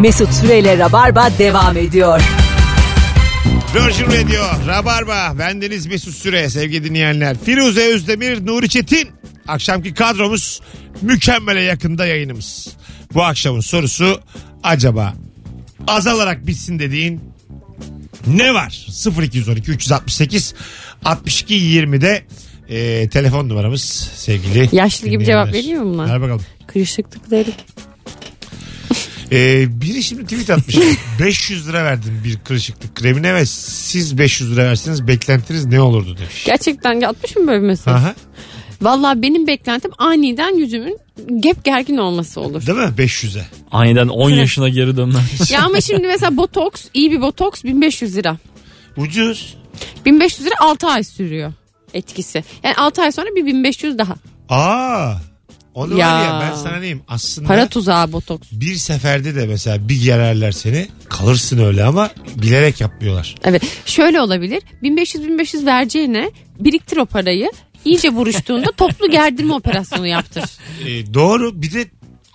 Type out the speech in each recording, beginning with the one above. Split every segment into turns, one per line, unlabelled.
Mesut Süreyle Rabarba devam ediyor.
Virgin Radio, Rabarba, bendeniz Mesut Süre, sevgili dinleyenler. Firuze Özdemir, Nuri Çetin. Akşamki kadromuz mükemmele yakında yayınımız. Bu akşamın sorusu acaba azalarak bitsin dediğin ne var? 0212 368 62 20'de e, telefon numaramız sevgili
Yaşlı gibi
dinleyenler.
cevap veriyor mu bunlar?
Ver bakalım.
Kırışıklık derim.
Ee, biri şimdi tweet atmış. 500 lira verdim bir kırışıklık kremine ve siz 500 lira verseniz beklentiniz ne olurdu demiş.
Gerçekten atmış mı böyle bir mesaj?
Aha,
Valla benim beklentim aniden yüzümün gep gergin olması olur.
değil mi? 500'e.
Aniden 10 yaşına geri dönmen.
ya ama şimdi mesela botoks iyi bir botoks 1500 lira.
Ucuz.
1500 lira 6 ay sürüyor etkisi. Yani 6 ay sonra bir 1500 daha.
Aa. Onu
Ya.
var ya ben sana diyeyim. Aslında
Para tuzağı botoks.
bir seferde de mesela bir gererler seni kalırsın öyle ama bilerek yapmıyorlar.
Evet şöyle olabilir 1500-1500 vereceğine biriktir o parayı iyice buruştuğunda toplu gerdirme operasyonu yaptır.
Ee, doğru bir de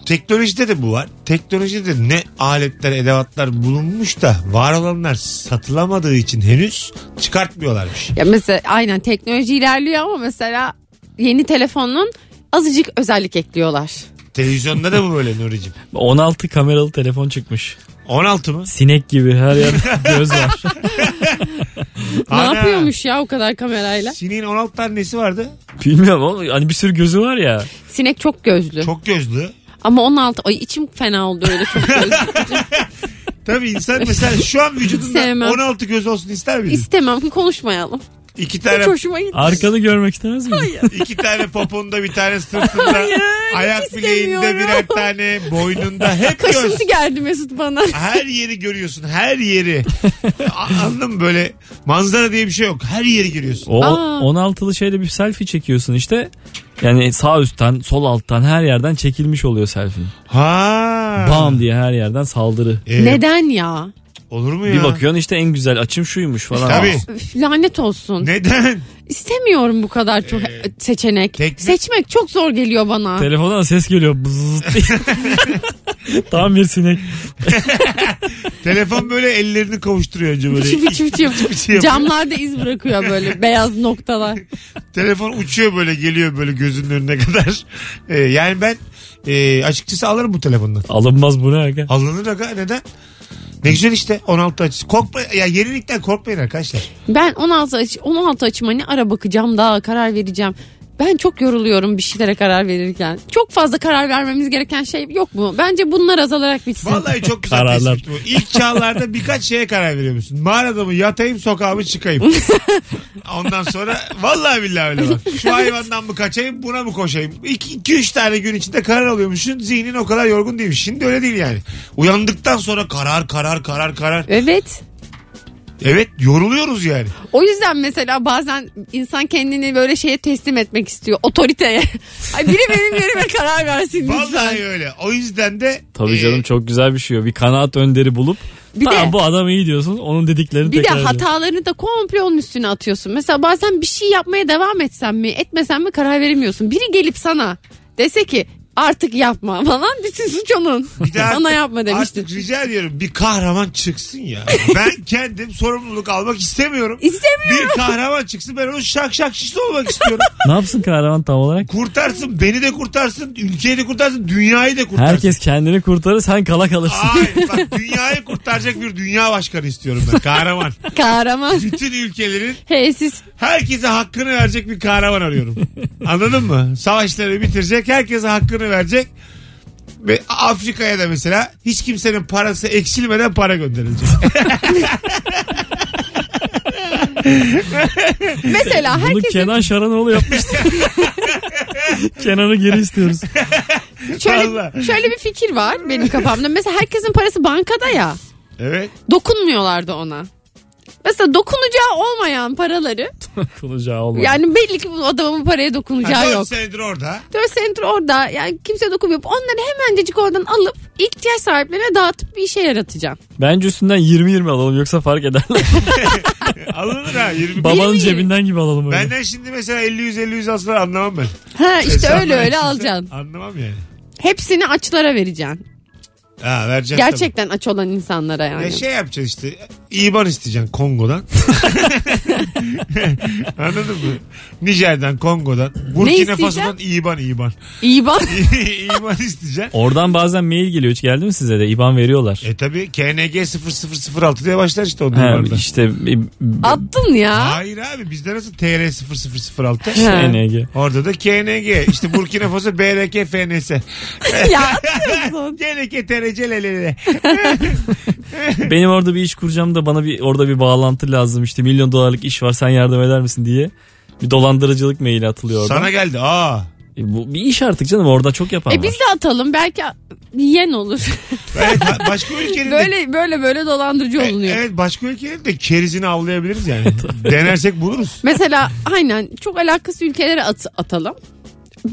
teknolojide de bu var. Teknolojide ne aletler edevatlar bulunmuş da var olanlar satılamadığı için henüz çıkartmıyorlarmış.
Ya mesela aynen teknoloji ilerliyor ama mesela yeni telefonun azıcık özellik ekliyorlar.
Televizyonda da bu böyle Nuri'cim.
16 kameralı telefon çıkmış.
16 mı?
Sinek gibi her yerde göz var.
Ana.
Ne yapıyormuş ya o kadar kamerayla?
Sineğin 16 tanesi vardı.
Bilmiyorum oğlum hani bir sürü gözü var ya.
Sinek çok gözlü.
Çok gözlü.
Ama 16 ay içim fena oldu öyle çok gözlü.
Tabii insan mesela şu an vücudunda
Sevmem.
16 göz olsun ister miydin?
İstemem konuşmayalım.
İki
Hiç
tane
hoşuma gitti.
Arkanı görmek istemez miydin?
iki tane poponda bir tane sırtında. ayak bileğinde
istemiyorum.
birer tane boynunda hep göz.
Kaşıntı geldi Mesut bana.
Her yeri görüyorsun her yeri. A- Anladın mı böyle manzara diye bir şey yok. Her yeri görüyorsun.
O
Aa.
16'lı şeyde bir selfie çekiyorsun işte. Yani sağ üstten, sol alttan her yerden çekilmiş oluyor selfie.
Ha.
Bam diye her yerden saldırı.
Ee,
Neden ya?
Olur mu ya?
Bir bakıyorsun işte en güzel açım şuymuş falan.
Tabii.
Üf, lanet olsun.
Neden?
İstemiyorum bu kadar çok seçenek.
Ee, teknik-
Seçmek çok zor geliyor bana.
Telefondan ses geliyor. Bzzz diye. Tam bir sinek.
Telefon böyle ellerini kavuşturuyor önce böyle.
Fıçı fıçı fıçı.
fıçı yapıyor.
Camlarda iz bırakıyor böyle beyaz noktalar.
Telefon uçuyor böyle geliyor böyle gözünün önüne kadar. Ee, yani ben e, açıkçası alırım bu telefondan.
Alınmaz bu ne aga?
Alınır aga neden? Ne güzel işte 16 açısı. Korkma ya yenilikten korkmayın arkadaşlar.
Ben 16 aç 16 açıma ne ara bakacağım daha karar vereceğim. Ben çok yoruluyorum bir şeylere karar verirken. Çok fazla karar vermemiz gereken şey yok mu? Bence bunlar azalarak bitsin.
Vallahi çok güzel
Kararlar.
tespit bu. İlk çağlarda birkaç şeye karar veriyor musun? Mağarada mı yatayım sokağa mı çıkayım? Ondan sonra vallahi billahi öyle bak. Şu hayvandan mı kaçayım buna mı koşayım? 2-3 tane gün içinde karar alıyormuşsun. Zihnin o kadar yorgun değilmiş. Şimdi öyle değil yani. Uyandıktan sonra karar karar karar karar.
Evet.
Evet yoruluyoruz yani.
O yüzden mesela bazen insan kendini böyle şeye teslim etmek istiyor. Otoriteye. Ay biri benim yerime karar versin lütfen.
Vallahi öyle. O yüzden de
Tabii
e,
canım çok güzel bir şey o. Bir kanaat önderi bulup
Bir
tamam
de-
bu adam iyi diyorsun. Onun dediklerini
Bir de
tekrar ediyorsun.
hatalarını da komple onun üstüne atıyorsun. Mesela bazen bir şey yapmaya devam etsem mi etmesem mi karar veremiyorsun. Biri gelip sana dese ki artık yapma falan bütün suç onun.
bir de
Bana yapma demiştin.
Artık rica ediyorum bir kahraman çıksın ya. Ben kendim sorumluluk almak istemiyorum.
İstemiyorum.
Bir kahraman çıksın ben onun şak şak şişli olmak istiyorum.
Ne yapsın kahraman tam olarak?
kurtarsın beni de kurtarsın, ülkeyi de kurtarsın, dünyayı da kurtarsın.
Herkes kendini kurtarır sen kala kalırsın.
Hayır bak dünyayı kurtaracak bir dünya başkanı istiyorum ben kahraman.
Kahraman.
Bütün ülkelerin
Hey siz
herkese hakkını verecek bir kahraman arıyorum. Anladın mı? Savaşları bitirecek, herkese hakkını verecek. Ve Afrika'ya da mesela hiç kimsenin parası eksilmeden para gönderilecek.
mesela
Bunu
herkesin
Kenan Şaranoğlu yapmıştı. Kenan'ı geri istiyoruz.
Vallahi.
şöyle, şöyle bir fikir var benim kafamda. Mesela herkesin parası bankada ya.
evet.
Dokunmuyorlardı ona. Mesela dokunacağı olmayan paraları
Kulacağı olmadı.
yani belli ki bu adamın bu paraya dokunacağı
Yani
yok.
4 senedir orada.
4 senedir orada yani kimse dokunmuyor. Onları hemencecik oradan alıp ihtiyaç sahiplerine dağıtıp bir işe yaratacaksın.
Bence üstünden 20-20 alalım yoksa fark ederler.
E, Alınır ha 20
Babanın
20-20.
cebinden gibi alalım öyle.
Benden şimdi mesela 50-100-50-100 aslar anlamam ben.
Ha işte
Mesela
öyle
ben
öyle
kimse-
alacaksın.
Anlamam yani.
Hepsini açlara vereceksin.
Ha, vereceğiz tabii.
Gerçekten aç olan insanlara yani.
E şey yapacaksın işte. İban isteyeceksin Kongo'dan. Anladın mı? Nijer'den, Kongo'dan. Burkina
isteyeceksin?
Faso'dan İban İban.
İyi bak.
İban isteyeceksin.
Oradan bazen mail geliyor. Hiç geldi mi size de? İban veriyorlar.
E tabi KNG 0006 diye başlar işte onun
Ha, şey.
İBAN'da.
işte
Attın ya.
Hayır abi bizde nasıl TR 0006?
şey,
Ha.
NG.
Orada da KNG. İşte Burkina Faso BRK FNS.
ya atıyorsun.
GNK TRC LLL.
Benim orada bir iş kuracağım da bana bir orada bir bağlantı lazım. İşte milyon dolarlık iş var sen yardım eder misin diye. Bir dolandırıcılık maili atılıyor orada.
Sana geldi. Aa.
E, bu bir iş artık canım orada çok yapan
E
var.
biz de atalım belki yen olur.
Evet, ba- başka ülkenin de
böyle böyle böyle dolandırıcı
E-
olunuyor.
Evet başka ülkelerin de kerizini avlayabiliriz yani. Denersek buluruz.
Mesela aynen çok alakası ülkelere at- atalım.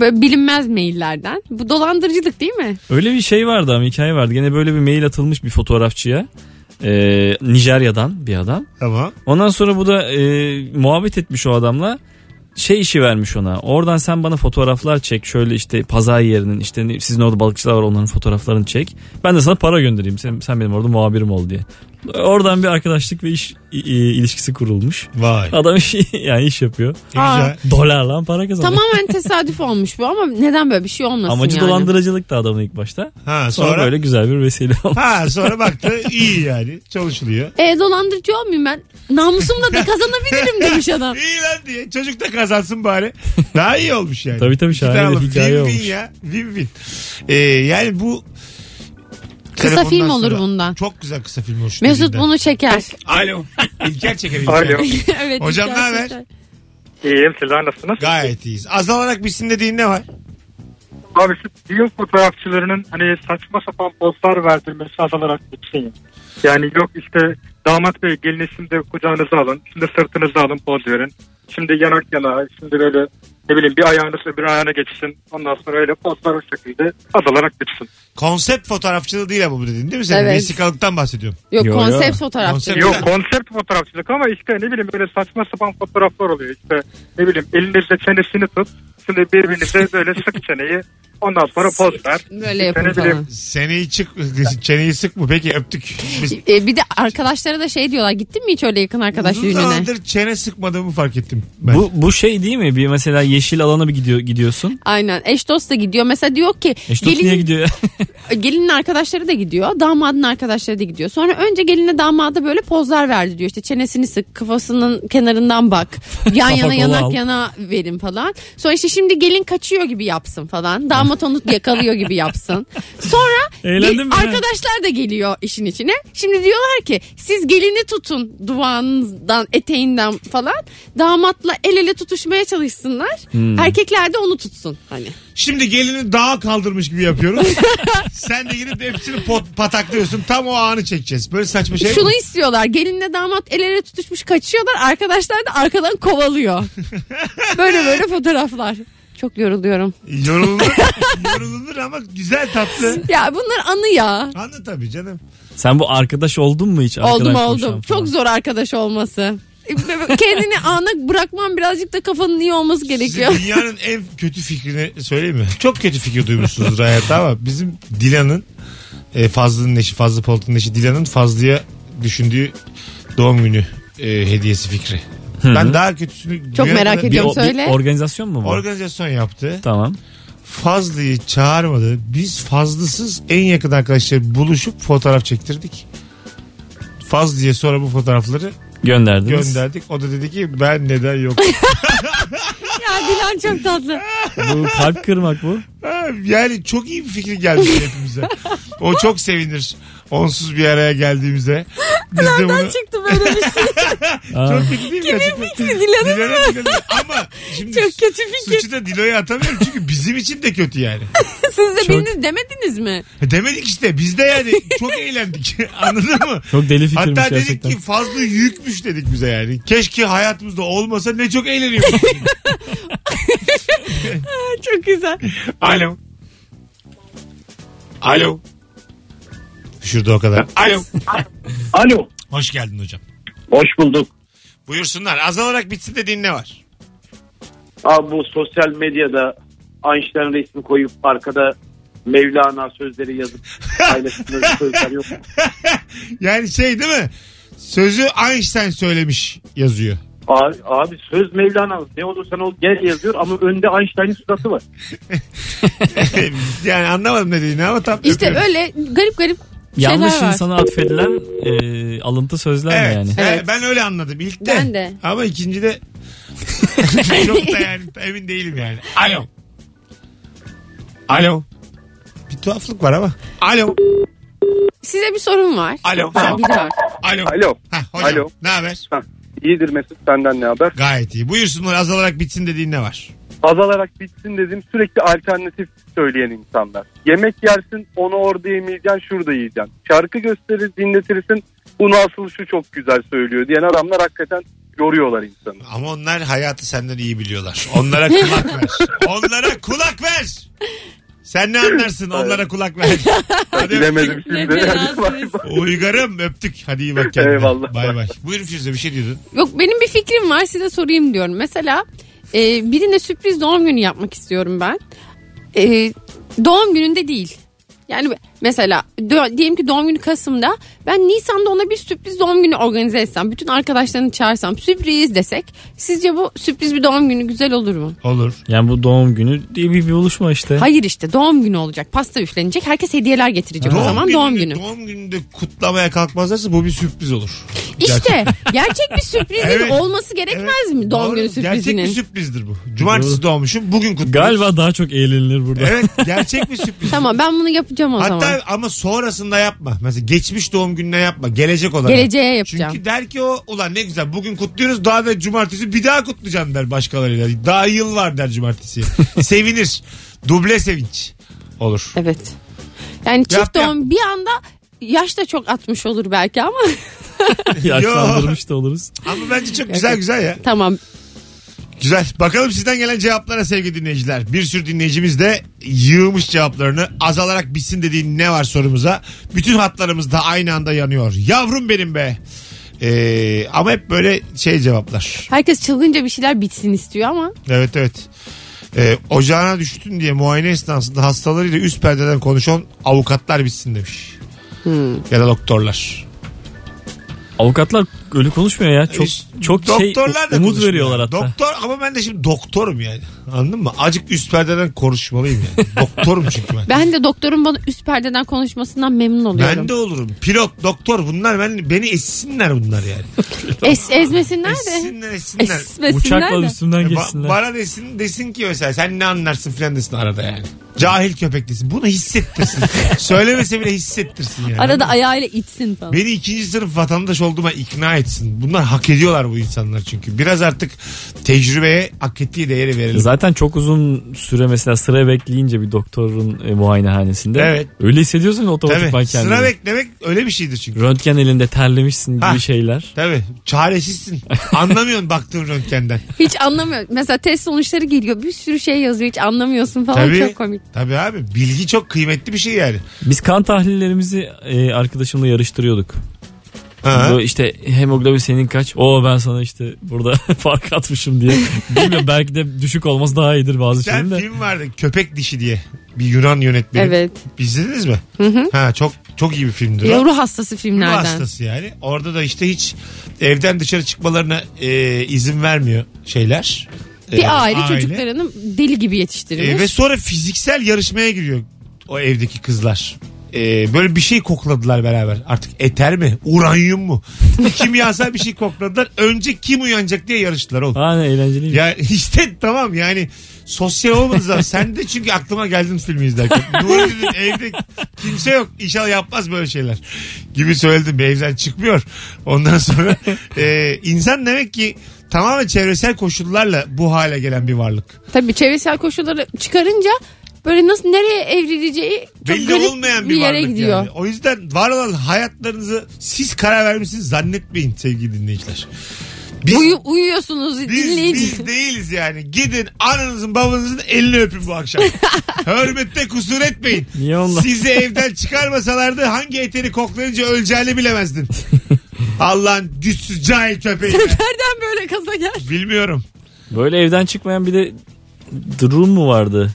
Böyle bilinmez maillerden. Bu dolandırıcılık değil mi?
Öyle bir şey vardı ama hikaye vardı. Gene böyle bir mail atılmış bir fotoğrafçıya. E, Nijerya'dan bir adam.
Tamam.
Ondan sonra bu da e, muhabbet etmiş o adamla. Şey işi vermiş ona. Oradan sen bana fotoğraflar çek. Şöyle işte pazar yerinin işte ne- sizin orada balıkçılar var onların fotoğraflarını çek. Ben de sana para göndereyim. Sen, sen benim orada muhabirim ol diye. Oradan bir arkadaşlık ve iş i- i- ilişkisi kurulmuş.
Vay.
Adam iş, yani iş yapıyor.
Ne güzel.
Dolar lan para kazanıyor.
Tamamen tesadüf olmuş bu ama neden böyle bir şey olmasın
Amacı
yani?
dolandırıcılık da adamın ilk başta.
Ha
Sonra,
sonra,
böyle güzel bir vesile oldu.
Ha sonra baktı iyi yani çalışılıyor.
E dolandırıcı olmayayım ben. Namusumla da kazanabilirim demiş adam.
İyi lan diye. Çocuk da kazansın bari. Daha iyi olmuş yani.
Tabii tabii,
İki
şahane
taraflı.
bir hikaye
win
olmuş.
Win ya. Win win. Ee, yani bu
Kısa
Telefondan
film olur
sonra-
bundan.
Çok güzel kısa film olur. şu
Mesut
dediğinden.
bunu çeker.
Alo. İlker çekebilir.
Alo.
evet.
Hocam
gerçekten.
ne haber?
İyiyim sizler nasılsınız?
Gayet iyiyiz. Azalarak bitsin dediğin ne var?
Abi şu düğün fotoğrafçılarının hani saçma sapan pozlar verdirmesi azalarak bitsin. Yani yok işte damat bey gelini şimdi kucağınıza alın. Şimdi sırtınıza alın poz verin. Şimdi yanak yana şimdi böyle ne bileyim bir ayağınız öbür ayağına geçsin. Ondan sonra öyle pozlar o şekilde azalarak bitsin.
Konsept fotoğrafçılığı değil ama bu dediğin değil mi? Sen
Evet.
vesikalıktan bahsediyorum.
Yok
Yo, yo.
konsept fotoğrafçı.
Konsept-
Yok konsept fotoğrafçılık ama işte ne bileyim böyle saçma sapan fotoğraflar oluyor. İşte ne bileyim elinizle çenesini tut. Şimdi birbirinize böyle sık çeneyi. Ondan sonra poz ver.
Böyle yapın
Ne bileyim,
falan.
Seneyi çık, çeneyi sık mı? Peki öptük. Biz
E, bir de arkadaşlara da şey diyorlar gittin mi hiç öyle yakın arkadaş
Uzun
düğününe?
zamandır çene sıkmadığımı fark ettim. Ben.
Bu, bu şey değil mi? Bir mesela yeşil alana bir gidiyor, gidiyorsun.
Aynen eş dost da gidiyor. Mesela diyor ki
Eş dost niye
gelin,
gidiyor?
gelinin arkadaşları da gidiyor. Damadın arkadaşları da gidiyor. Sonra önce geline damada böyle pozlar verdi diyor. İşte çenesini sık kafasının kenarından bak. Yan
Kafa
yana
kola
yanak
al.
yana verin falan. Sonra işte şimdi gelin kaçıyor gibi yapsın falan. Damat onu yakalıyor gibi yapsın. Sonra
Eğlendin
Gel-
mi?
Arkadaşlar da geliyor işin içine. Şimdi diyorlar ki siz gelini tutun duvağınızdan eteğinden falan. Damatla el ele tutuşmaya çalışsınlar. Erkekler de onu tutsun. Hani.
Şimdi gelini dağa kaldırmış gibi yapıyoruz. Sen de gidip hepsini pot- pataklıyorsun. Tam o anı çekeceğiz. Böyle saçma şey
Şunu
mi?
istiyorlar. Gelinle damat el ele tutuşmuş kaçıyorlar. Arkadaşlar da arkadan kovalıyor. böyle böyle fotoğraflar. Çok yoruluyorum.
Yorulur, yorulur ama güzel tatlı.
Ya bunlar anı ya.
Anlı tabii canım.
Sen bu arkadaş oldun mu hiç? Arkadan
oldum
konuşan
oldum.
falan.
Çok zor arkadaş olması. E, Kendini ana bırakman birazcık da kafanın iyi olması gerekiyor.
Siz dünyanın en kötü fikrini söyleyeyim mi? Çok kötü fikir duymuşsunuzdur hayatta ama bizim Dilan'ın e, Fazlı'nın eşi, Fazlı Polat'ın eşi Dilan'ın Fazlı'ya düşündüğü doğum günü e, hediyesi fikri. Ben daha kötüsünü
Çok
dünyada-
merak
bir
ediyorum.
O- bir
Söyle.
organizasyon mu var?
Organizasyon yaptı.
tamam.
Fazlı'yı çağırmadı. Biz Fazlısız en yakın arkadaşlar buluşup fotoğraf çektirdik. Fazlı'ya sonra bu fotoğrafları
Gönderdiniz.
gönderdik. O da dedi ki ben neden yok.
Ya Dilan çok tatlı.
Bu kalp kırmak bu.
Ha, yani çok iyi bir fikir geldi hepimize. O çok sevinir. Onsuz bir araya geldiğimize. Biz de bunu...
Çıktı böyle bir şey.
Aa,
Çok kötü değil mi? Kimin
fikri? Dilan'ın
Ama şimdi
Çok kötü fikir.
suçu da Dilo'ya atamıyorum çünkü bizim için de kötü yani.
Siz de biriniz demediniz mi?
E Demedik işte biz de yani çok eğlendik anladın mı?
çok deli fikirmiş
Hatta dedik
gerçekten.
ki fazla yükmüş dedik bize yani. Keşke hayatımızda olmasa ne çok eğleniyoruz.
Çok güzel.
Alo. Alo. Şurada o kadar. Alo.
Alo.
Hoş geldin hocam.
Hoş bulduk.
Buyursunlar. Azalarak bitsin dediğin ne var?
Abi bu sosyal medyada Einstein resmi koyup arkada Mevlana sözleri yazıp paylaşımları sözler yok.
Yani şey değil mi? Sözü Einstein söylemiş yazıyor.
Abi, abi söz Mevlana ne olursan ol gel yazıyor ama önde Einstein'in suratı var.
yani anlamadım ne dediğini ama tam
İşte
öpüyorum.
öyle garip garip
Yanlış
şeyler var.
insana atfedilen e, alıntı sözler
Evet,
mi yani?
yani
Evet.
Ben öyle anladım ilk de.
Ben de.
Ama ikinci de çok da yani emin değilim yani. Alo. Alo. Bir tuhaflık var ama. Alo.
Size bir sorum var.
Alo.
Ha, biri var.
Alo.
Alo.
Hah, hocam.
Alo.
Ne haber?
İyidir Mesut senden ne haber?
Gayet iyi. Buyursunlar azalarak bitsin dediğin ne var?
Azalarak bitsin dedim sürekli alternatif söyleyen insanlar. Yemek yersin onu orada yemeyeceksin şurada yiyeceksin. Şarkı gösterir dinletirsin bunu asıl şu çok güzel söylüyor diyen adamlar hakikaten yoruyorlar insanı.
Ama onlar hayatı senden iyi biliyorlar. Onlara kulak ver. Onlara kulak ver. Sen ne anlarsın onlara kulak ver. Hadi
Bilemedim
Ne
şimdi.
fenasınız.
Uygarım öptük. Hadi iyi bak kendine.
Eyvallah.
Bay bay. Buyurun Firuze bir şey diyordun.
Yok benim bir fikrim var size sorayım diyorum. Mesela e, birine sürpriz doğum günü yapmak istiyorum ben. E, doğum gününde değil. Yani mesela dö- diyelim ki doğum günü Kasım'da ben Nisan'da ona bir sürpriz doğum günü organize etsem. Bütün arkadaşlarını çağırsam sürpriz desek. Sizce bu sürpriz bir doğum günü güzel olur mu?
Olur.
Yani bu doğum günü diye bir, bir buluşma işte.
Hayır işte doğum günü olacak. Pasta üflenecek. Herkes hediyeler getirecek o zaman doğum günü.
Doğum gününde kutlamaya kalkmazlarsa bu bir sürpriz olur.
İşte gerçek bir sürprizin
Evet.
olması gerekmez
Evet.
mi doğum
Doğru.
günü sürprizinin?
Gerçek bir sürprizdir bu. Cumartesi doğmuşum bugün kutluyoruz.
Galiba daha çok eğlenilir burada.
Evet gerçek bir sürpriz.
Tamam ben bunu yapacağım o
Hatta
zaman.
ama sonrasında yapma. Mesela geçmiş doğum gününe yapma. Gelecek olarak.
Geleceğe yapacağım.
Çünkü der ki o ulan ne güzel bugün kutluyoruz daha da cumartesi bir daha kutlayacağım der başkalarıyla. Daha yıl var der cumartesi. Sevinir. Duble sevinç olur.
Evet. Yani çift
Yap, yap.
doğum bir anda yaş da çok atmış olur belki ama
Yaşlandırmış da oluruz.
Ama bence çok güzel güzel ya.
tamam.
Güzel. Bakalım sizden gelen cevaplara sevgili dinleyiciler. Bir sürü dinleyicimiz de yığmış cevaplarını. Azalarak bitsin dediğin ne var sorumuza. Bütün hatlarımız da aynı anda yanıyor. Yavrum benim be. Ee, ama hep böyle şey cevaplar.
Herkes çılgınca bir şeyler bitsin istiyor ama
Evet evet. Ee, ocağına düştün diye muayene esnasında hastalarıyla üst perdeden konuşan avukatlar bitsin demiş. Ya da doktorlar.
Avukatlar öyle konuşmuyor ya. Çok
Üst-
çok şey
E, doktorlar da
umut
konuşmuyor.
veriyorlar hatta.
Doktor ama ben de şimdi doktorum yani. Anladın mı? Acık üst perdeden konuşmalıyım yani. doktorum çünkü ben.
ben de doktorun bana üst perdeden konuşmasından memnun oluyorum.
Ben de olurum. Pilot, doktor bunlar ben beni essinler bunlar yani.
Es, ezmesinler de.
Essinler, essinler. E,
Uçakla
Esmesinler de.
üstümden
Ba-
geçsinler.
bana desin, desin ki mesela sen ne anlarsın filan desin arada yani. Cahil köpek desin. Bunu hissettirsin. Söylemese bile hissettirsin yani.
Arada ayağıyla itsin falan.
Beni ikinci sınıf vatandaş olduğuma ikna etsin. Bunlar hak ediyorlar bu insanlar çünkü. Biraz artık tecrübeye hak ettiği değeri verelim.
Zaten çok uzun süre mesela sıra bekleyince bir doktorun e, muayenehanesinde.
Evet.
Öyle hissediyorsun ya otomatikman
Tabii.
kendini.
Sıra beklemek öyle bir şeydir çünkü.
Röntgen elinde terlemişsin gibi
Ha.
şeyler.
Tabii. Çaresizsin. Anlamıyorsun baktığın röntgenden.
Hiç anlamıyor. Mesela test sonuçları geliyor. Bir sürü şey yazıyor. Hiç anlamıyorsun falan.
Tabii.
Çok komik.
Tabii abi. Bilgi çok kıymetli bir şey yani.
Biz kan tahlillerimizi e, arkadaşımla yarıştırıyorduk.
Ha.
Bu işte hemoglobin senin kaç? O ben sana işte burada fark atmışım diye. Bilmiyorum belki de düşük olması daha iyidir bazı şeyin
Sen
de.
film vardı Köpek Dişi diye. Bir Yunan yönetmeni.
Evet.
İzlediniz mi? Ha çok çok iyi bir filmdir. o.
Yavru hastası
Ruh
filmlerden.
hastası yani. Orada da işte hiç evden dışarı çıkmalarına e, izin vermiyor şeyler. E,
Bir aile, çocuklarını deli gibi yetiştirmiş.
E, ve sonra fiziksel yarışmaya giriyor o evdeki kızlar. E, böyle bir şey kokladılar beraber. Artık eter mi? Uranyum mu? Kimyasal bir şey kokladılar. Önce kim uyanacak diye yarıştılar oğlum.
Ha ne eğlenceliymiş.
Ya işte tamam yani sosyal olmadı zaman. Sen de çünkü aklıma geldin filmi izlerken. Nuri dedim evde kimse yok. İnşallah yapmaz böyle şeyler. Gibi söyledim. Bir evden çıkmıyor. Ondan sonra e, insan demek ki tamamen çevresel koşullarla bu hale gelen bir varlık.
Tabii çevresel koşulları çıkarınca böyle nasıl nereye evrileceği çok
Belli
garip
olmayan bir,
bir yere
varlık
gidiyor.
yani. O yüzden var olan hayatlarınızı siz karar vermişsiniz zannetmeyin sevgili dinleyiciler. Biz,
Uyu- uyuyorsunuz
Biz,
dinleyici.
biz değiliz yani. Gidin ananızın babanızın elini öpün bu akşam. Hürmette kusur etmeyin.
Niye onlar?
Sizi evden çıkarmasalardı hangi eteri koklayınca öleceğini bilemezdin. Allah'ın güçsüz cahil köpeği.
Nereden böyle kaza gel?
Bilmiyorum.
Böyle evden çıkmayan bir de durum mu vardı?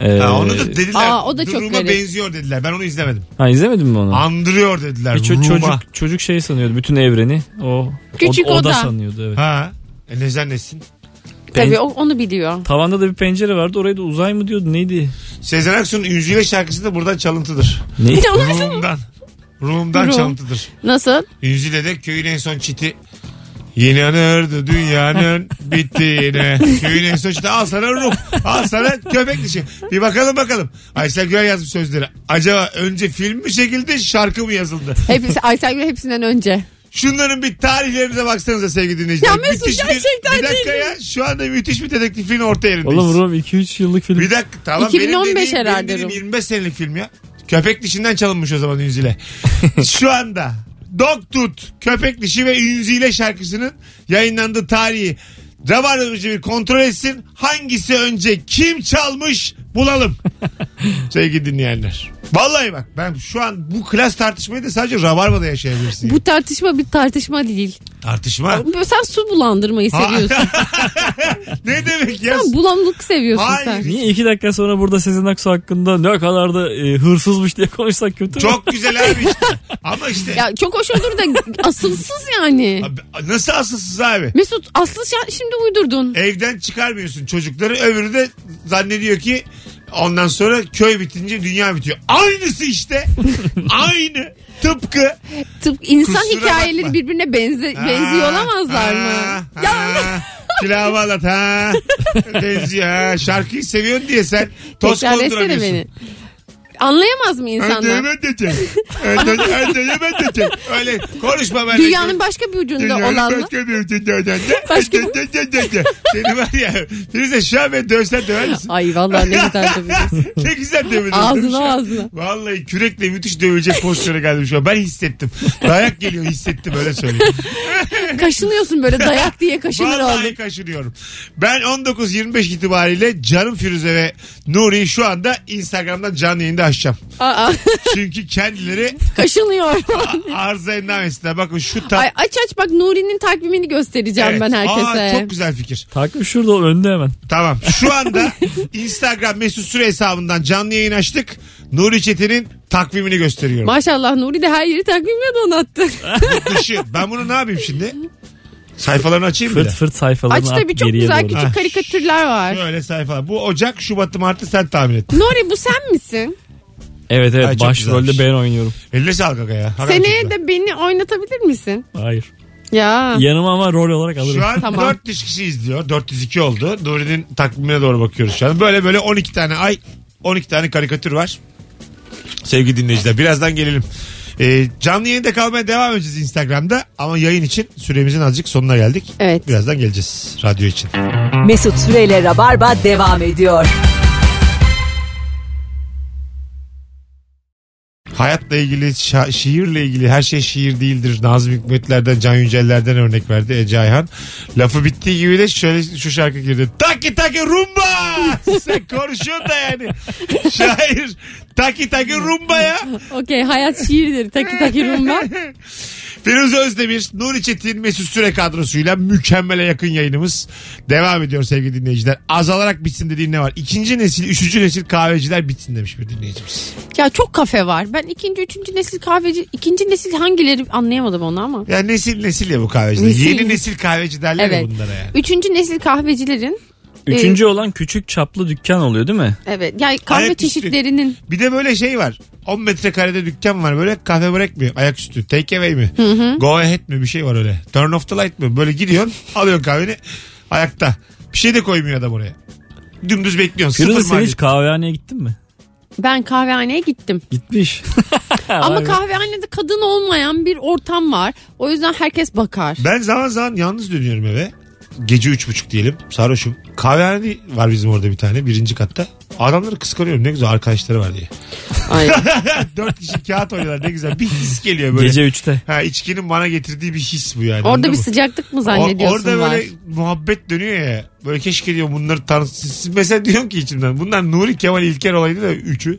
Ee,
Ha, onu da dediler.
Aa, o da çok
Duruma
garip.
benziyor dediler. Ben onu izlemedim.
ha, izlemedin mi onu?
Andırıyor dediler.
Bir E, ço-
Ruma.
çocuk çocuk şey sanıyordu bütün evreni. O
Küçük
o, oda,
oda.
sanıyordu evet.
Ha. E ne zannetsin?
Pen-
Tabii o- onu biliyor.
Tavanda da bir pencere vardı. Orayı da uzay mı diyordu? Neydi?
Sezen Aksu'nun Üncüyle şarkısı da buradan çalıntıdır.
Ne?
Rum'dan. Rum'dan
Rum.
çalıntıdır.
Nasıl?
Üncüyle de köyün en son çiti. Yeni anırdı dünyanın bittiğine. Köyün en son çiti. Al sana Rum. Al sana köpek dişi. Bir bakalım bakalım. Aysel Gürel yazmış sözleri. Acaba önce film mi çekildi şarkı mı yazıldı?
Hepsi, Aysel Gül hepsinden önce.
Şunların bir tarihlerimize baksanıza sevgili dinleyiciler.
Ya Mesut
Müthiş
gerçekten
bir, bir dakika
değil.
ya şu anda müthiş bir dedektifliğin orta yerindeyiz.
Oğlum Rum 2-3 yıllık film.
Bir dakika tamam
2015
benim dediğim, benim
herhalde
dediğim
Rum.
25 senelik film ya. Köpek dişinden çalınmış o zaman Ünzile. şu anda Dog Tut, Köpek Dişi ve Ünzile şarkısının yayınlandığı tarihi Rabarbacı bir kontrol etsin. Hangisi önce kim çalmış bulalım. Sevgili dinleyenler. Vallahi bak ben şu an bu klas tartışmayı da sadece Rabarba'da yaşayabilirsin.
Bu tartışma bir tartışma değil.
Tartışma.
Böyle Sen su bulandırmayı
Ha-
seviyorsun.
ne demek ya?
sen bulanlık seviyorsun
Hayır.
sen.
Niye iki dakika sonra burada Sezen Aksu hakkında ne kadar da e, hırsızmış diye konuşsak kötü mü?
Çok güzel abi işte. Ama işte
Ya çok hoş olur da asılsız yani.
abi, nasıl asılsız abi?
Mesut aslı şa- şimdi uydurdun.
Evden çıkarmıyorsun çocukları. Öbürü de zannediyor ki ondan sonra köy bitince dünya bitiyor. Aynısı işte. Aynı. Tıpkı.
Tıpkı insan
Kusura
hikayeleri
bakma.
birbirine benze- benziyor olamazlar mı? Ya
Pilavı anlat ha. Benziyor ha. Şarkıyı seviyorsun diye sen toz
tekrar etsene
konduramıyorsun.
beni. Anlayamaz mı
Önce
insanlar?
yemen de çek. Önce, önce yemen de çek. Öyle konuşma benimle.
Dünyanın başka bir ucunda
Dünyanın
olanla.
başka bir ucunda olan da-
Başka-
Seni var ya. Firuze şu an beni dövsen döver misin?
Ay vallahi ne güzel dövüyorsun.
ne güzel dövülür.
Ağzına, ağzına.
Vallahi kürekle müthiş dövülecek pozisyona geldim şu an. Ben hissettim. Dayak geliyor hissettim öyle söyleyeyim.
Kaşınıyorsun böyle dayak diye kaşınır
Vallahi
oldun.
kaşınıyorum. Ben 19-25 itibariyle canım Firuze ve Nuri'yi şu anda Instagram'dan canlı yayında açacağım.
Aa,
Çünkü kendileri
kaşınıyor.
arıza endamesine bakın şu tat.
Ay aç aç bak Nuri'nin takvimini göstereceğim
Evet.
ben
Aa,
herkese.
çok güzel fikir.
Takvim şurada önde hemen.
Tamam. Şu anda Instagram mesut süre hesabından canlı yayın açtık. Nuri Çetin'in takvimini gösteriyorum.
Maşallah Nuri de her yeri takvimle donattı.
Dışı. Ben bunu ne yapayım şimdi? Sayfalarını açayım mı?
Fırt fırt sayfalarını
aç
at
tabii çok
geriye
güzel
doğru.
Ha.
küçük karikatürler var.
Böyle sayfalar. Bu Ocak, Şubat, Mart'ı sen tahmin et.
Nuri bu sen misin?
Evet evet
Ay, çok
başrolde
güzelmiş.
ben oynuyorum.
Eline sağlık aga ya. Hakikaten
Seneye
çok güzel.
de beni oynatabilir misin?
Hayır.
Ya.
Yanıma ama rol olarak alırım.
Şu an
Tamam.
400 kişi izliyor. 402 oldu. Nuri'nin takvimine doğru bakıyoruz şu an. Böyle böyle 12 tane ay, 12 tane karikatür var. Sevgili dinleyiciler birazdan gelelim. Ee, canlı yayında kalmaya devam edeceğiz Instagram'da. Ama yayın için süremizin azıcık sonuna geldik.
Evet.
Birazdan geleceğiz radyo için.
Mesut Süreyle Rabarba devam ediyor.
Hayatla ilgili, şa- şiirle ilgili her şey şiir değildir. Nazım Hikmetler'den, Can Yücel'lerden örnek verdi Ece Ayhan. Lafı bittiği gibi de şöyle şu şarkı girdi. Taki taki rumba! Sen konuşuyorsun da yani. Şair. Taki taki rumba ya.
Okey hayat şiirdir. Taki taki rumba.
Firuze Özdemir, Nuri Çetin, Mesut Süre kadrosuyla mükemmele yakın yayınımız devam ediyor sevgili dinleyiciler. Azalarak bitsin dediğin ne var? İkinci nesil, üçüncü nesil kahveciler bitsin demiş bir dinleyicimiz.
Ya çok kafe var. Ben ikinci, üçüncü nesil kahveci, ikinci nesil hangileri anlayamadım onu ama.
Ya nesil nesil ya bu kahveciler.
Nesil.
Yeni nesil kahveci derler ya
Evet.
bunlara yani.
Üçüncü nesil kahvecilerin
Üçüncü olan küçük çaplı dükkan oluyor değil mi?
evet yani kahve
Ayak üstü.
çeşitlerinin
Bir de böyle şey var. 10 metrekarede dükkan var böyle kahve börek mi? Ayaküstü. Take away mi? Go ahead mi? Bir şey var öyle. Turn off the light mi? Böyle gidiyorsun alıyorsun kahveni ayakta. Bir şey de koymuyor adam oraya. Dümdüz bekliyorsun.
Firuze
Sıfır
sen
maliyet.
hiç kahvehaneye gittin mi?
ben kahvehaneye gittim.
Gitmiş.
Ama
Vay be.
kahvehanede kadın olmayan bir ortam var. O yüzden herkes bakar.
Ben zaman zaman yalnız dönüyorum eve. Gece üç buçuk diyelim. Sarhoşum. Kahvehane var bizim orada bir tane. Birinci katta. Adamları kıskanıyorum. Ne güzel arkadaşları var diye.
Ay.
Dört kişi kağıt oynuyorlar. Ne güzel. Bir his geliyor böyle.
Gece 3'te.
Ha, içkinin bana getirdiği bir his bu yani.
Orada
Anladın
bir
mı?
sıcaklık mı
O-
zannediyorsun
Orada
var?
böyle muhabbet dönüyor ya. Böyle keşke diyorum bunları tanıtsın. Mesela diyorum ki içimden bunlar Nuri Kemal İlker olaydı da üçü.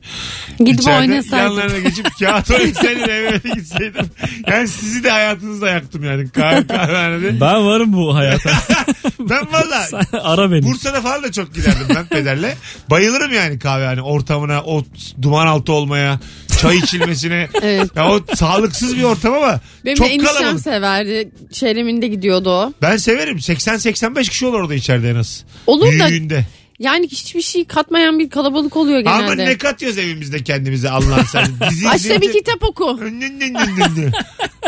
Gidip
İçeride
oynasaydım.
Yanlarına geçip kağıt oynasaydım eve de gitseydim. Yani sizi de hayatınızda yaktım yani. Kahve kahvehanede.
Ben varım bu hayata.
Ben valla
Sen Ara beni.
Bursa'da falan da çok giderdim ben pederle. Bayılırım yani kahvehane ortamına, o duman altı olmaya, çay içilmesine.
Evet.
ya o sağlıksız bir ortam ama
Benim de
çok
eniştem
kalabalık.
severdi. Şehreminde gidiyordu o.
Ben severim. 80-85 kişi olur orada içeride en az.
Olur da
Büyüğünde.
yani hiçbir şey katmayan bir kalabalık oluyor
Ama ne
genelde.
katıyoruz evimizde kendimize Allah'ın sen. Dizi
Aç da bir
izleyince-
kitap oku.
Nın nın nın nın nın.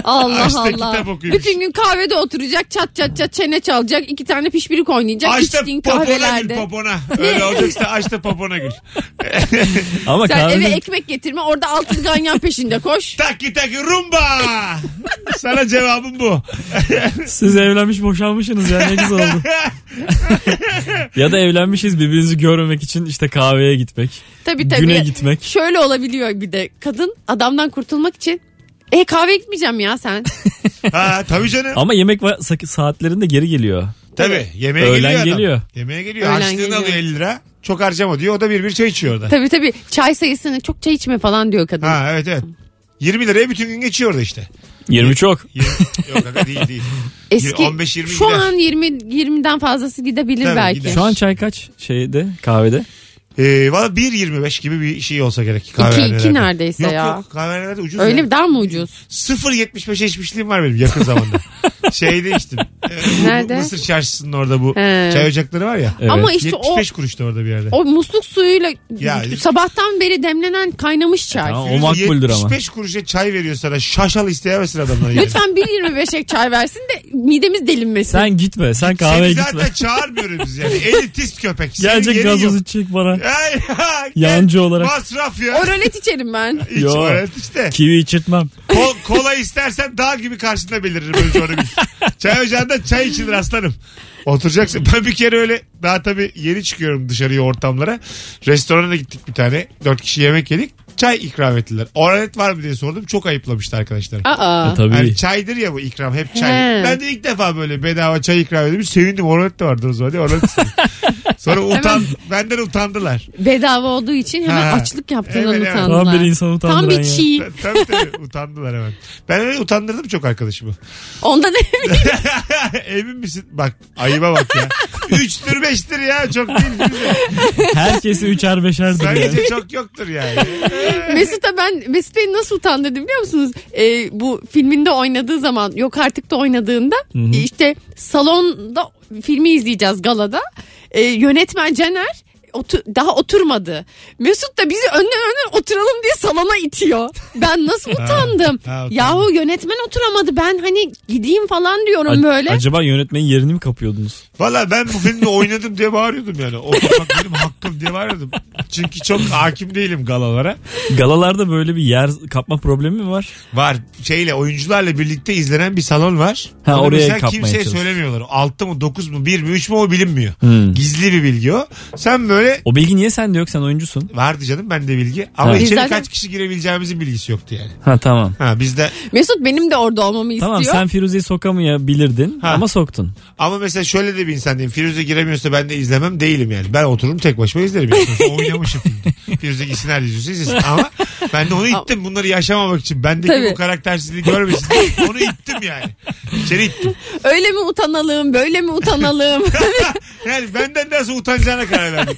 Allah
Aç da
Allah.
kitap okuymuş.
Bütün gün kahvede oturacak çat çat çat çene çalacak. iki tane pişbirik oynayacak.
Aç da
içtiğin
popona gül
kahvelerde.
popona. Öyle olacaksa aç da popona gül.
Ama
Sen
kahvede
eve ekmek getirme orada altın ganyan peşinde koş.
Taki taki rumba. Sana cevabım bu.
siz evlenmiş boşanmışsınız ya ne güzel oldu. ya da evlenmişiz birbirinizi görmemek için işte kahveye gitmek.
Tabii tabii.
Güne gitmek.
Şöyle olabiliyor bir de kadın adamdan kurtulmak için. E kahve gitmeyeceğim ya sen.
Ha, tabii canım.
Ama yemek va- sa- saatlerinde geri geliyor.
Tabii. Yemeğe
Öğlen
geliyor adam.
geliyor.
Yemeğe geliyor.
Öğlen
Açlığını
geliyor.
alıyor 50 lira. Çok harcama diyor. O da bir bir çay içiyor orada.
tabii tabii çay sayısını çok çay içme falan diyor kadın.
Ha evet evet. 20 liraya bütün gün geçiyor orada işte.
20 çok.
Yirmi- Yok aga değil değil.
Eski
15-20
şu
gider.
an 20 20'den fazlası gidebilir
Tabii,
belki.
gider.
Şu an çay kaç şeyde kahvede?
Ee, Valla 1.25 gibi bir şey olsa gerek. kahvehanelerde.
iki neredeyse
yok,
ya.
Yok kahvehanelerde ucuz.
Öyle
ya.
bir daha mı ucuz?
0.75'e içmişliğim var benim yakın zamanda. Şeyde içtim. Ee, bu- bu
Nerede?
Mısır çarşısının orada bu
He.
çay ocakları var ya.
Evet.
Ama işte o
75 kuruştu orada bir yerde.
o musluk suyuyla
Ya-
sabahtan beri demlenen kaynamış çay.
E, tamam. O
Firuze
makbuldür ama.
75 kuruşa çay veriyor sana. Şaşal isteyemezsin adamdan. yani.
Lütfen 1.25'e çay versin de midemiz delinmesin.
Sen gitme sen kahveye
Seni
gitme.
zaten çağırmıyoruz yani. Elitist köpek. Senin
Gelecek
yerin
gazoz
yok.
içecek bana.
Ay, ha, gel.
Yancı olarak.
Masraf ya.
Oralet içerim ben.
Hiç
Yo.
öğret işte.
Kivi içirtmem.
Ko- kola istersen dağ gibi karşında beliririm önce onu bil. Çay ocağında çay içilir aslanım. Oturacaksın. Ben bir kere öyle daha tabii yeni çıkıyorum dışarıya ortamlara. Restorana gittik bir tane. Dört kişi yemek yedik. Çay ikram ettiler. Oralet var mı diye sordum. Çok ayıplamıştı arkadaşlar.
Aa.
E, Tabii.
Yani çaydır ya bu ikram hep çay.
He.
Ben de ilk defa böyle bedava çay ikram edilmiş. Sevindim oralet de vardı o zaman diye oralet istedim. Sonra utan, benden utandılar.
Bedava olduğu için hemen
Ha.
açlık yaptığını
Evet, evet.
utandılar.
Tam bir insan utandıran
Tam bir
ya.
çiğ.
tabii tabii utandılar hemen. Ben öyle utandırdım çok arkadaşımı.
Ondan emin.
Emin misin? Bak ayıba bak ya. Üçtür beştir ya çok değil.
Herkesi üçer beşerdir yani.
Bence çok yoktur yani.
Mesut'a ben Mesut Bey nasıl utandırdı biliyor musunuz? Ee, bu filminde oynadığı zaman yok artık da oynadığında işte salonda filmi izleyeceğiz galada. Ee, yönetmen Caner otu- daha oturmadı. Mesut da bizi önden önden oturalım diye salona itiyor. Ben nasıl utandım.
ha, utandım.
Yahu yönetmen oturamadı. Ben hani gideyim falan diyorum
A-
böyle.
Acaba yönetmenin yerini mi kapıyordunuz?
Valla ben bu filmde oynadım diye bağırıyordum yani. O bak benim hakkım diye bağırıyordum. Çünkü çok hakim değilim galalara.
Galalarda böyle bir yer kapma problemi mi var?
Var şeyle oyuncularla birlikte izlenen bir salon var.
Ha,
Onu
oraya
mesela
kapmaya
kimseye
çalış.
söylemiyorlar. 6 mı 9 mu 1 mi 3 mü o bilinmiyor.
Hmm.
Gizli bir bilgi o. Sen böyle
O bilgi niye sende yok sen oyuncusun?
vardı canım bende bilgi. Ama
Ha.
içeri
Biz zaten-
kaç kişi girebileceğimizin bilgisi yoktu yani.
Ha tamam.
Ha bizde
Mesut benim de orada olmamı
Tamam
istiyor.
sen Firuze'yi sokamayabilirdin
Ha.
ama soktun.
Ama mesela şöyle de bir insan diyeyim. Firuze giremiyorsa ben de izlemem değilim yani. Ben otururum tek başıma izlerim. Yani. Sonuçta oynamışım. Firuze gitsin her yüzüsü izlesin. Ama ben de onu ittim. Bunları yaşamamak için. Bendeki
Tabii.
bu karaktersizliği görmesin. diye onu ittim yani. İçeri ittim.
Öyle mi utanalım, böyle mi utanalım?
Yani benden nasıl utanacağına karar verdim.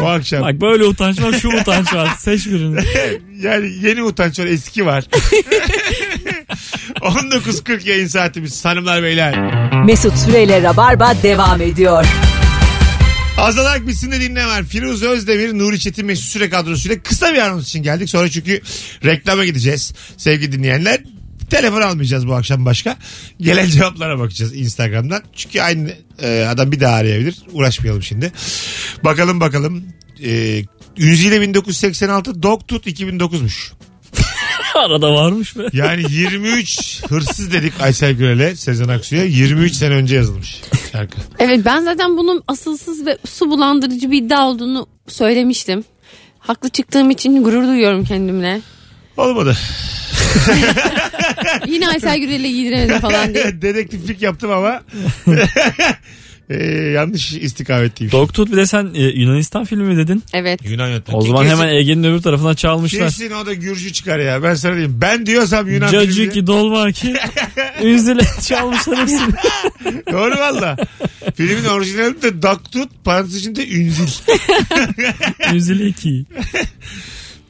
bu akşam.
Bak böyle utanç var şu utanç var seç birini.
Yani yeni utanç var. Eski var. 19.40 yayın saatimiz. Hanımlar beyler.
Mesut Süreyle Rabarba devam ediyor.
Azalak bitsin de dinle var. Firuz Özdemir, Nuri Çetin Mesut Süre kadrosuyla kısa bir anons için geldik. Sonra çünkü reklama gideceğiz sevgili dinleyenler. Telefon almayacağız bu akşam başka. Gelen cevaplara bakacağız Instagram'dan. Çünkü aynı e, adam bir daha arayabilir. Uğraşmayalım şimdi. Bakalım bakalım. E, Ünzi'yle 1986, Doktut 2009'muş.
Arada varmış be.
Yani 23 hırsız dedik Aysel Gürel'e, Sezen Aksu'ya. 23 sene önce yazılmış şarkı.
evet ben zaten bunun asılsız ve su bulandırıcı bir iddia olduğunu söylemiştim. Haklı çıktığım için gurur duyuyorum kendimle.
Olmadı.
Yine Aysel Gürel'e giydiremedim falan diye.
Dedektiflik yaptım ama Ee, yanlış istikametliymiş.
Doktut bir de sen e, Yunanistan filmi mi dedin?
Evet.
Yunan yönetmeni.
O zaman
Kesin-
hemen Ege'nin öbür tarafına çalmışlar.
Kesin o da Gürcü çıkar ya. Ben sana diyeyim. Ben diyorsam Yunan
Cacı
filmi-
ki dolma ki üzüle çalmışlar hepsini.
Doğru valla. Filmin orijinali de Daktut parantez içinde Ünzil.
Üzüle ki.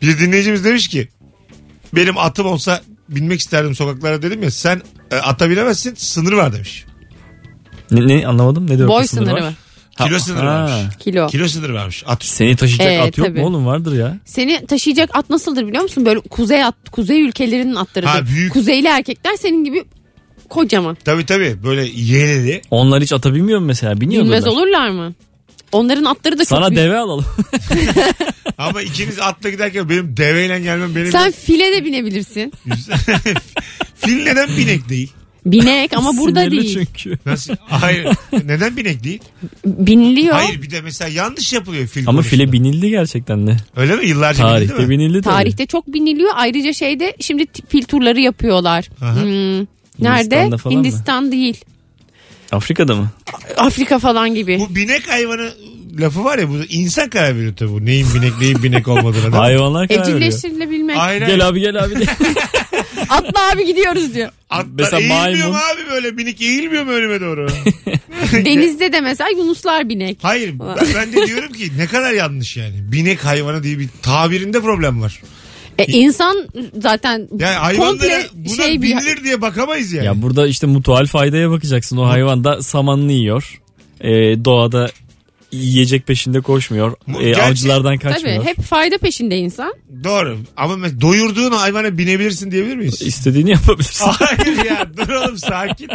Bir dinleyicimiz demiş ki benim atım olsa binmek isterdim sokaklara dedim ya sen e, ata binemezsin sınır var demiş.
Ne, ne anlamadım ne diyor?
Boy sınırı mı?
Kilo sınırı varmış.
Kilo.
Kilo sınırı varmış. At üstü.
Seni taşıyacak
Ee,
at yok
tabii.
mu oğlum vardır ya.
Seni taşıyacak at nasıldır biliyor musun? Böyle kuzey at, kuzey ülkelerinin atlarıdır.
Ha, büyük.
Kuzeyli erkekler senin gibi kocaman.
Tabii tabii böyle yeleli.
Onlar hiç ata binmiyor mu mesela? Biniyor
Bilmez
mular?
olurlar mı? Onların atları da çok
Sana
büyük.
deve alalım.
Ama ikiniz atla giderken benim deveyle gelmem benim...
Sen file de binebilirsin.
Fil neden binek değil?
Binek ama burada
Sinirli
değil.
çünkü.
Nasıl? Hayır. Neden binek değil?
Biniliyor.
Hayır bir de mesela yanlış yapılıyor fil
Ama
konusunda.
file binildi gerçekten de.
Öyle mi? Yıllarca binildi
Tarihte
mi?
binildi tabii.
Tarihte çok biniliyor. Ayrıca şeyde şimdi t- fil turları yapıyorlar.
Aha.
Hmm, Nerede?
falan mı?
Hindistan değil.
Afrika'da mı?
Afrika falan gibi.
Bu binek hayvanı lafı var ya bu insan karar veriyor tabii bu. Neyin binek neyin binek olmadığına. da.
Hayvanlar karar veriyor.
Evcilleştirilebilmek.
Aynen.
Gel abi gel abi. diye.
Atla abi gidiyoruz diyor.
Atlar
Mesela
eğilmiyor mu
maymun.
abi böyle minik eğilmiyor mu önüme doğru?
Denizde de mesela yunuslar binek.
Hayır ben, ben de diyorum ki ne kadar yanlış yani. Binek hayvanı diye bir tabirinde problem var.
E, insan zaten
Yani hayvanlara
komple
buna
şey bir...
binilir diye bakamayız yani.
ya burada işte mutual faydaya bakacaksın. O hayvan da samanını yiyor. Ee, doğada yiyecek peşinde koşmuyor.
Bu-
Ee,
gerçi-
avcılardan
Tabii
kaçmıyor.
hep fayda peşinde insan.
Doğru ama mes- doyurduğun hayvana binebilirsin diyebilir miyiz?
İstediğini yapabilirsin.
Hayır ya dur oğlum sakin.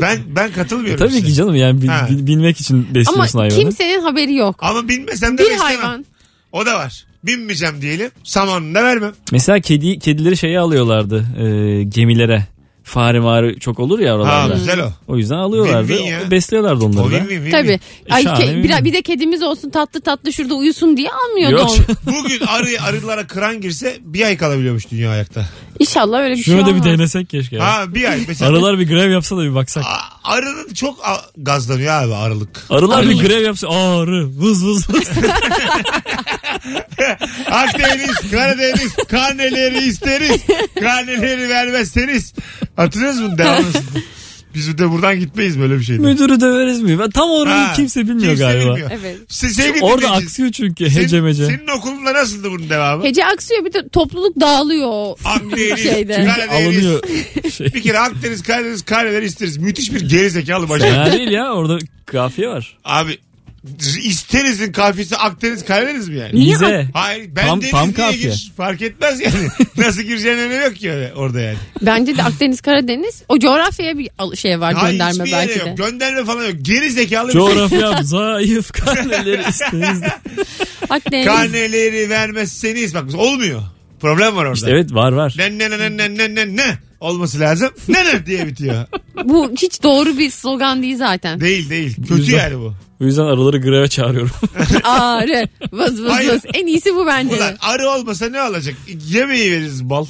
Ben ben katılmıyorum
E, Tabii
size.
ki canım yani bil-
şey. Ha.
bil- bilmek için
Ama
besliyorsun hayvanı.
kimsenin haberi yok.
Ama binmesem de
Bir
beslemem.
hayvan.
O da var. Binmeyeceğim diyelim. Samanını da vermem.
Mesela kedi kedileri şeye alıyorlardı e, gemilere. Fare mağarı çok olur ya
Ha,
oralarda.
güzel o.
o yüzden alıyorlardı.
Win-win ya.
Besliyorlardı onları
O
da.
win win win
Tabii.
win.
Ay,
şahane
ke-
bir-
bir, bir de kedimiz olsun tatlı tatlı şurada uyusun diye almıyordu
Yok.
onu.
Bugün arı, arılara kıran girse bir ay kalabiliyormuş dünya ayakta.
İnşallah öyle bir
Şunu
şey
da bir
olmaz.
denesek keşke. ya.
Ha bir ay. Mesela
Arılar bir grev yapsa da bir baksak.
A- Arının çok a- gazlanıyor abi arılık.
Arılar bir grev yapsa ağrı vız vız vız.
Akdeniz, Karadeniz, karneleri isteriz. Karneleri vermezseniz. Hatırlıyorsunuz mu devamlısını? Biz bir de buradan gitmeyiz böyle bir şeyde.
Müdürü döveriz mi? Ben tam orayı
Ha,
kimse bilmiyor
kimse
galiba.
bilmiyor.
Evet.
Se- sevgili
Orada
dinleyicimiz,
aksıyor çünkü
senin-
hece mece.
Senin okulunda nasıldı bunun devamı?
Hece aksıyor bir de topluluk dağılıyor o
Akdeniz,
şeyde.
Çünkü
Karadeniz.
alınıyor şey.
Bir kere Akdeniz, Karadeniz, karneleri isteriz. Müthiş bir gerizekalı başarı.
Fena değil ya orada kafiye var.
Abi isterizin kafesi Akdeniz, Karadeniz mi yani?
Niye
Bize.
Hayır ben
Tam-
deniz
tam
diye
kafiye.
gir. Fark etmez yani. Nasıl gireceğin önemi yok ki öyle- orada yani.
Bence de Akdeniz Karadeniz o coğrafyaya bir al- şey var
Hayır,
gönderme
hiçbir yere
belki de.
Yok. Gönderme falan yok. Geri zekalı bir şey.
Coğrafya zayıf karneleri isteriz.
Akdeniz.
şey. Karneleri vermezseniz bak olmuyor. Problem var orada.
İşte evet var var.
Ne ne ne ne ne ne ne ne olması lazım. Ne ne diye bitiyor.
Bu hiç doğru bir slogan değil zaten.
Değil değil. Kötü
Güzel.
yani bu.
O yüzden arıları greve çağırıyorum.
Ağrı. Vız vız
Hayır.
vız. En iyisi bu bence.
Ulan
de.
arı olmasa ne olacak? Yemeği veririz bal.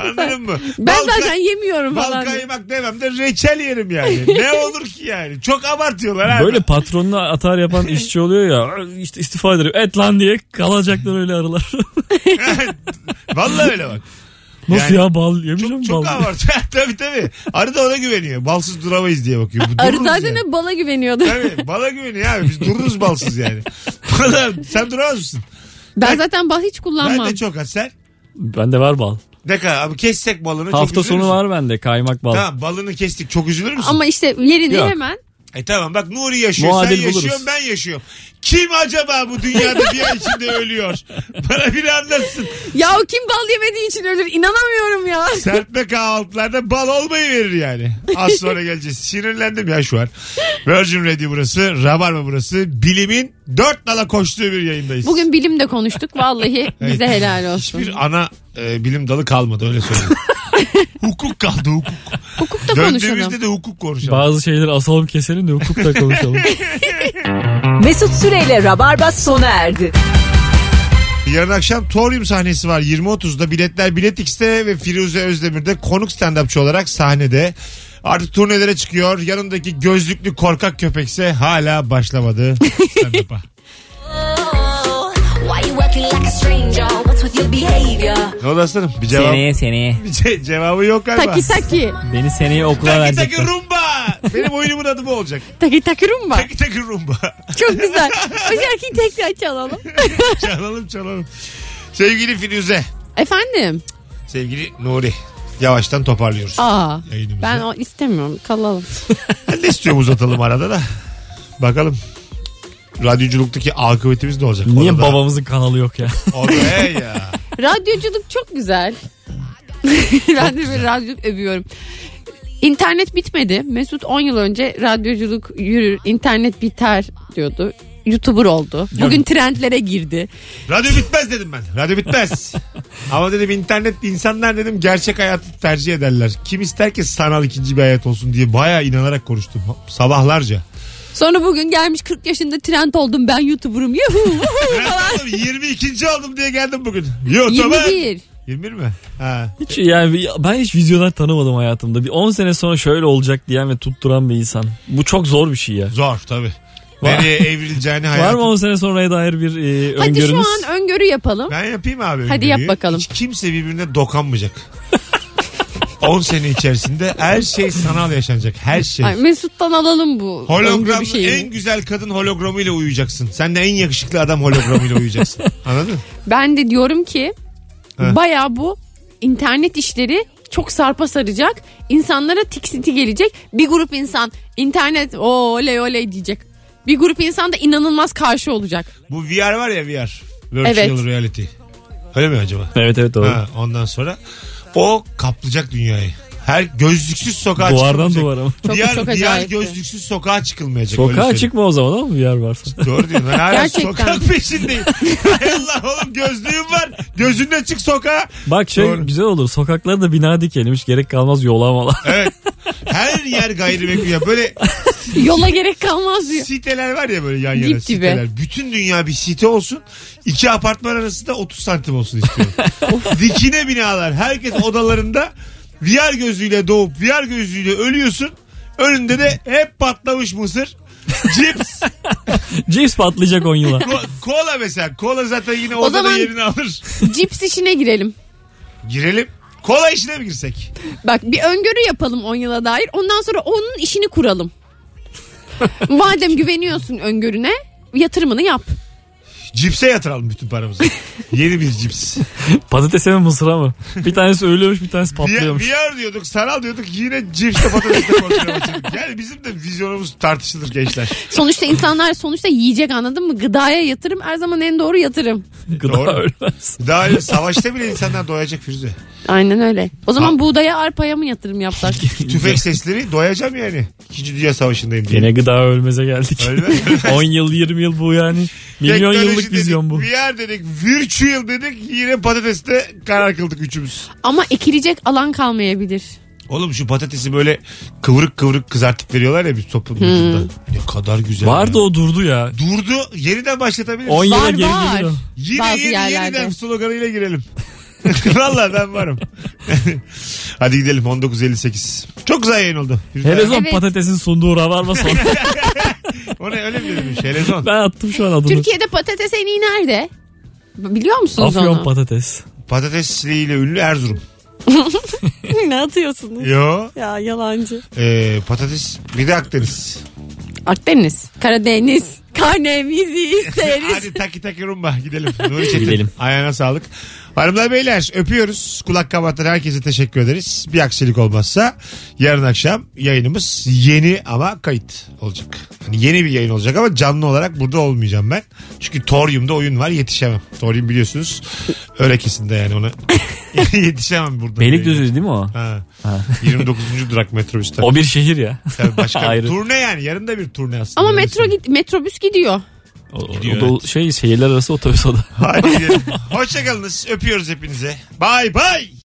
Anladın mı?
Ben
Bal-
zaten yemiyorum
Bal
falan.
kaymak demem de reçel yerim yani. ne olur ki yani? Çok abartıyorlar abi.
Böyle patronuna atar yapan işçi oluyor ya işte istifa ederim et lan diye kalacaklar öyle arılar.
Vallahi öyle bak.
Nasıl
Yani
ya bal yemeyeceğim
Çok,
mi
çok
bal.
abartıyor. tabii tabii. Arı da ona güveniyor. Balsız duramayız diye bakıyor. Bu
Arı
dururuz
zaten
yani.
hep bala güveniyordu.
Tabii bala güveniyor abi. Biz dururuz balsız yani. Bala, sen duramaz mısın?
Ben zaten bal hiç
Ben
kullanmam.
de çok az sen.
Bende var bal.
Ne kadar abi kessek balını çok
Hafta
üzülür
sonu
müsün?
var bende kaymak bal.
Tamam balını kestik çok üzülür müsün?
Ama işte yerini
Yok.
hemen.
E tamam bak Nuri yaşıyor
Muadil
sen yaşıyorsun
buluruz.
ben yaşıyorum. Kim acaba bu dünyada bir ay içinde ölüyor? Bana bir anlatsın.
Ya o kim bal yemediği için ölür inanamıyorum ya.
Serpme kahvaltılarda bal olmayı verir yani. Az sonra geleceğiz. Sinirlendim ya şu an. Virgin Radio burası. Rabarba burası. Bilimin dört nala koştuğu bir yayındayız.
Bugün bilimde konuştuk vallahi bize helal olsun.
Hiçbir ana e, bilim dalı kalmadı öyle söyleyeyim. hukuk kaldı hukuk.
Hukukta konuşalım.
Döndüğümüzde de hukuk konuşalım.
Bazı şeyleri asalım keselim de hukukta konuşalım.
Mesut Süreyle Rabarba sona erdi.
Yarın akşam Torium sahnesi var 20.30'da. Biletler Bilet X'te ve Firuze Özdemir'de konuk stand-upçı olarak sahnede. Artık turnelere çıkıyor. Yanındaki gözlüklü korkak köpekse hala başlamadı stand-up'a.
Why you acting like a stranger? What's with your behavior?
ne oldu aslanım? Bir cevap,
seneye.
bir ce- cevabı yok galiba.
Taki taki.
Beni seneye okula
Taki
verecek.
taki rumba. Benim oyunumun adı bu olacak.
Taki taki rumba.
Taki taki rumba.
Çok güzel. O şarkıyı tekrar çalalım.
çalalım çalalım. Sevgili Firuze,
Efendim.
sevgili Nuri. Yavaştan toparlıyoruz.
Aa.
Yayınımızı.
Ben o istemiyorum. Kalalım.
Ne istiyorum uzatalım arada da. Bakalım. Radyoculuktaki akıbetimiz ne olacak?
Niye
Orada-
babamızın kanalı yok ya?
Orada he ya.
Radyoculuk çok güzel. ben de bir radyoculuk övüyorum. İnternet bitmedi. Mesut 10 yıl önce radyoculuk yürür, internet biter diyordu. YouTuber oldu. Bugün trendlere girdi.
Radyo bitmez dedim ben. Radyo bitmez. Ama dedim internet insanlar dedim gerçek hayatı tercih ederler. Kim ister ki sanal ikinci bir hayat olsun diye bayağı inanarak konuştum. Sabahlarca.
Sonra bugün gelmiş 40 yaşında trend oldum ben YouTuber'ım. Yuhu, yuhu
Ben
falan.
oğlum 22. oldum diye geldim bugün. YouTube'a.
21.
21 mi? Ha.
Hiç, yani bir- ben hiç vizyonlar tanımadım hayatımda. Bir 10 sene sonra şöyle olacak diyen ve tutturan bir insan. Bu çok zor bir şey ya.
Zor tabii.
Var-
Nereye evrileceğini hayatım.
Var mı 10 sene sonraya dair bir e,
Hadi şu
öngörünüz?
an öngörü yapalım.
Ben yapayım abi.
Hadi yap bakalım.
Hiç kimse birbirine dokanmayacak. 10 sene içerisinde her şey sanal yaşanacak. Her şey.
Ay, Mesut'tan alalım bu
Hologram
öngörü şeyini.
en güzel kadın hologramıyla uyuyacaksın. Sen de en yakışıklı adam hologramıyla uyuyacaksın. Anladın mı?
Ben de diyorum ki
Heh.
baya bu internet işleri çok sarpa saracak. İnsanlara tiksinti gelecek. Bir grup insan internet o oley oley diyecek. Bir grup insan da inanılmaz karşı olacak.
Bu VR var ya VR. Virtual
Evet.
reality. Öyle mi acaba?
Evet evet doğru.
Ha, ondan sonra o kaplayacak dünyayı. Her gözlüksüz sokağa
Duvardan
çıkılmayacak.
duvara mı?
Çok-
diğer,
çok
diğer
acayipti.
gözlüksüz sokağa çıkılmayacak. öyle şey.
Sokağa
söyleyeyim.
çıkma o zaman ama bir yer varsa.
Doğru diyorsun. Ben hala
Gerçekten.
sokak peşindeyim. Hay Allah oğlum gözlüğüm var. Gözünle çık sokağa.
Bak şey
Doğru.
güzel olur. Sokaklara da bina dikelim. Hiç gerek kalmaz yola mala.
Evet. Her yer gayrimenkul ya. Böyle
Yola gerek kalmaz diyor.
siteler var ya böyle yan yana
Dip dibe.
siteler. Bütün dünya bir site olsun. İki apartman arasında 30 santim olsun istiyorum. Dikine binalar. Herkes odalarında VR gözüyle doğup VR gözüyle ölüyorsun. Önünde de hep patlamış mısır. Cips.
Cips patlayacak 10 yıla.
ko- kola mesela. Kola zaten yine odada
zaman-
yerini alır.
Cips işine girelim.
Girelim. Kola işine mi girsek?
Bak bir öngörü yapalım 10 yıla dair. Ondan sonra onun işini kuralım. Madem güveniyorsun öngörüne yatırımını yap.
Cipse yatıralım bütün paramızı. Yeni bir cips.
Patatese mi mısıra mı? Bir tanesi ölüyormuş bir tanesi
VR,
patlıyormuş.
VR diyorduk, sanal diyorduk. Yine cipsle patatesle konuşuyoruz. Yani bizim de vizyonumuz tartışılır gençler.
Sonuçta insanlar sonuçta yiyecek anladın mı? Gıdaya yatırım her zaman en doğru yatırım.
Gıda
Doğru.
ölmez.
Daha öyle savaşta bile insanlar doyacak Firuze.
Aynen öyle. O zaman buğdaya arpaya mı yatırım yapsak?
Tüfek sesleri doyacağım yani. İkinci Dünya Savaşı'ndayım diye.
Yine gıda ölmeze geldik.
Ölmez.
10 yıl 20 yıl bu yani. Milyon
Teknoloji
yıllık vizyon bu.
dedik, VR dedik, virtual dedik. Yine patateste karar kıldık üçümüz.
Ama ekilecek alan kalmayabilir.
Oğlum şu patatesi böyle kıvırık kıvırık kızartıp veriyorlar ya bir topun ucunda. Ne kadar güzel.
Hmm. Vardı
ya.
o durdu ya.
Durdu. Yeniden başlatabiliriz.
10 yıla
Var,
geri
var.
gelir o.
Yine
Bazı
yeni
yerlerde.
yeniden sloganıyla girelim. Valla ben varım. Hadi gidelim 1958. Çok güzel yayın oldu.
Helezon
Evet.
patatesin sunduğu rabarba son.
O ne öyle mi dedim? Helezon.
ben attım şu an adını.
Türkiye'de patates en iyi nerede? Biliyor musunuz
Afyon
onu?
patates.
Patatesliyle ünlü Erzurum.
ne atıyorsunuz?
Yo.
Ya yalancı.
E, patates bir de Akdeniz.
Akdeniz, Karadeniz, karnemizi isteriz.
Hadi taki taki rumba gidelim. Nuri Çetin.
Gidelim.
Ayağına sağlık. Hanımlar beyler öpüyoruz. Kulak kapatan herkese teşekkür ederiz. Bir aksilik olmazsa yarın akşam yayınımız yeni ama kayıt olacak. Hani yeni bir yayın olacak ama canlı olarak burada olmayacağım ben. Çünkü Torium'da oyun var yetişemem. Torium biliyorsunuz örekesinde yani ona yetişemem burada.
Beylikdüzü değil mi o?
Ha. 29. durak metrobüste.
O bir şehir ya.
Tabii başka bir
Ayrı.
turne yani. Yarın da bir turne aslında.
Ama
Öyle
metro
söyleyeyim.
git, metrobüs gidiyor.
O, o
Gidiyor,
da şey şehirler arası otobüs o da.
Hadi gidelim. Hoşçakalınız. Öpüyoruz hepinize. Bay bay.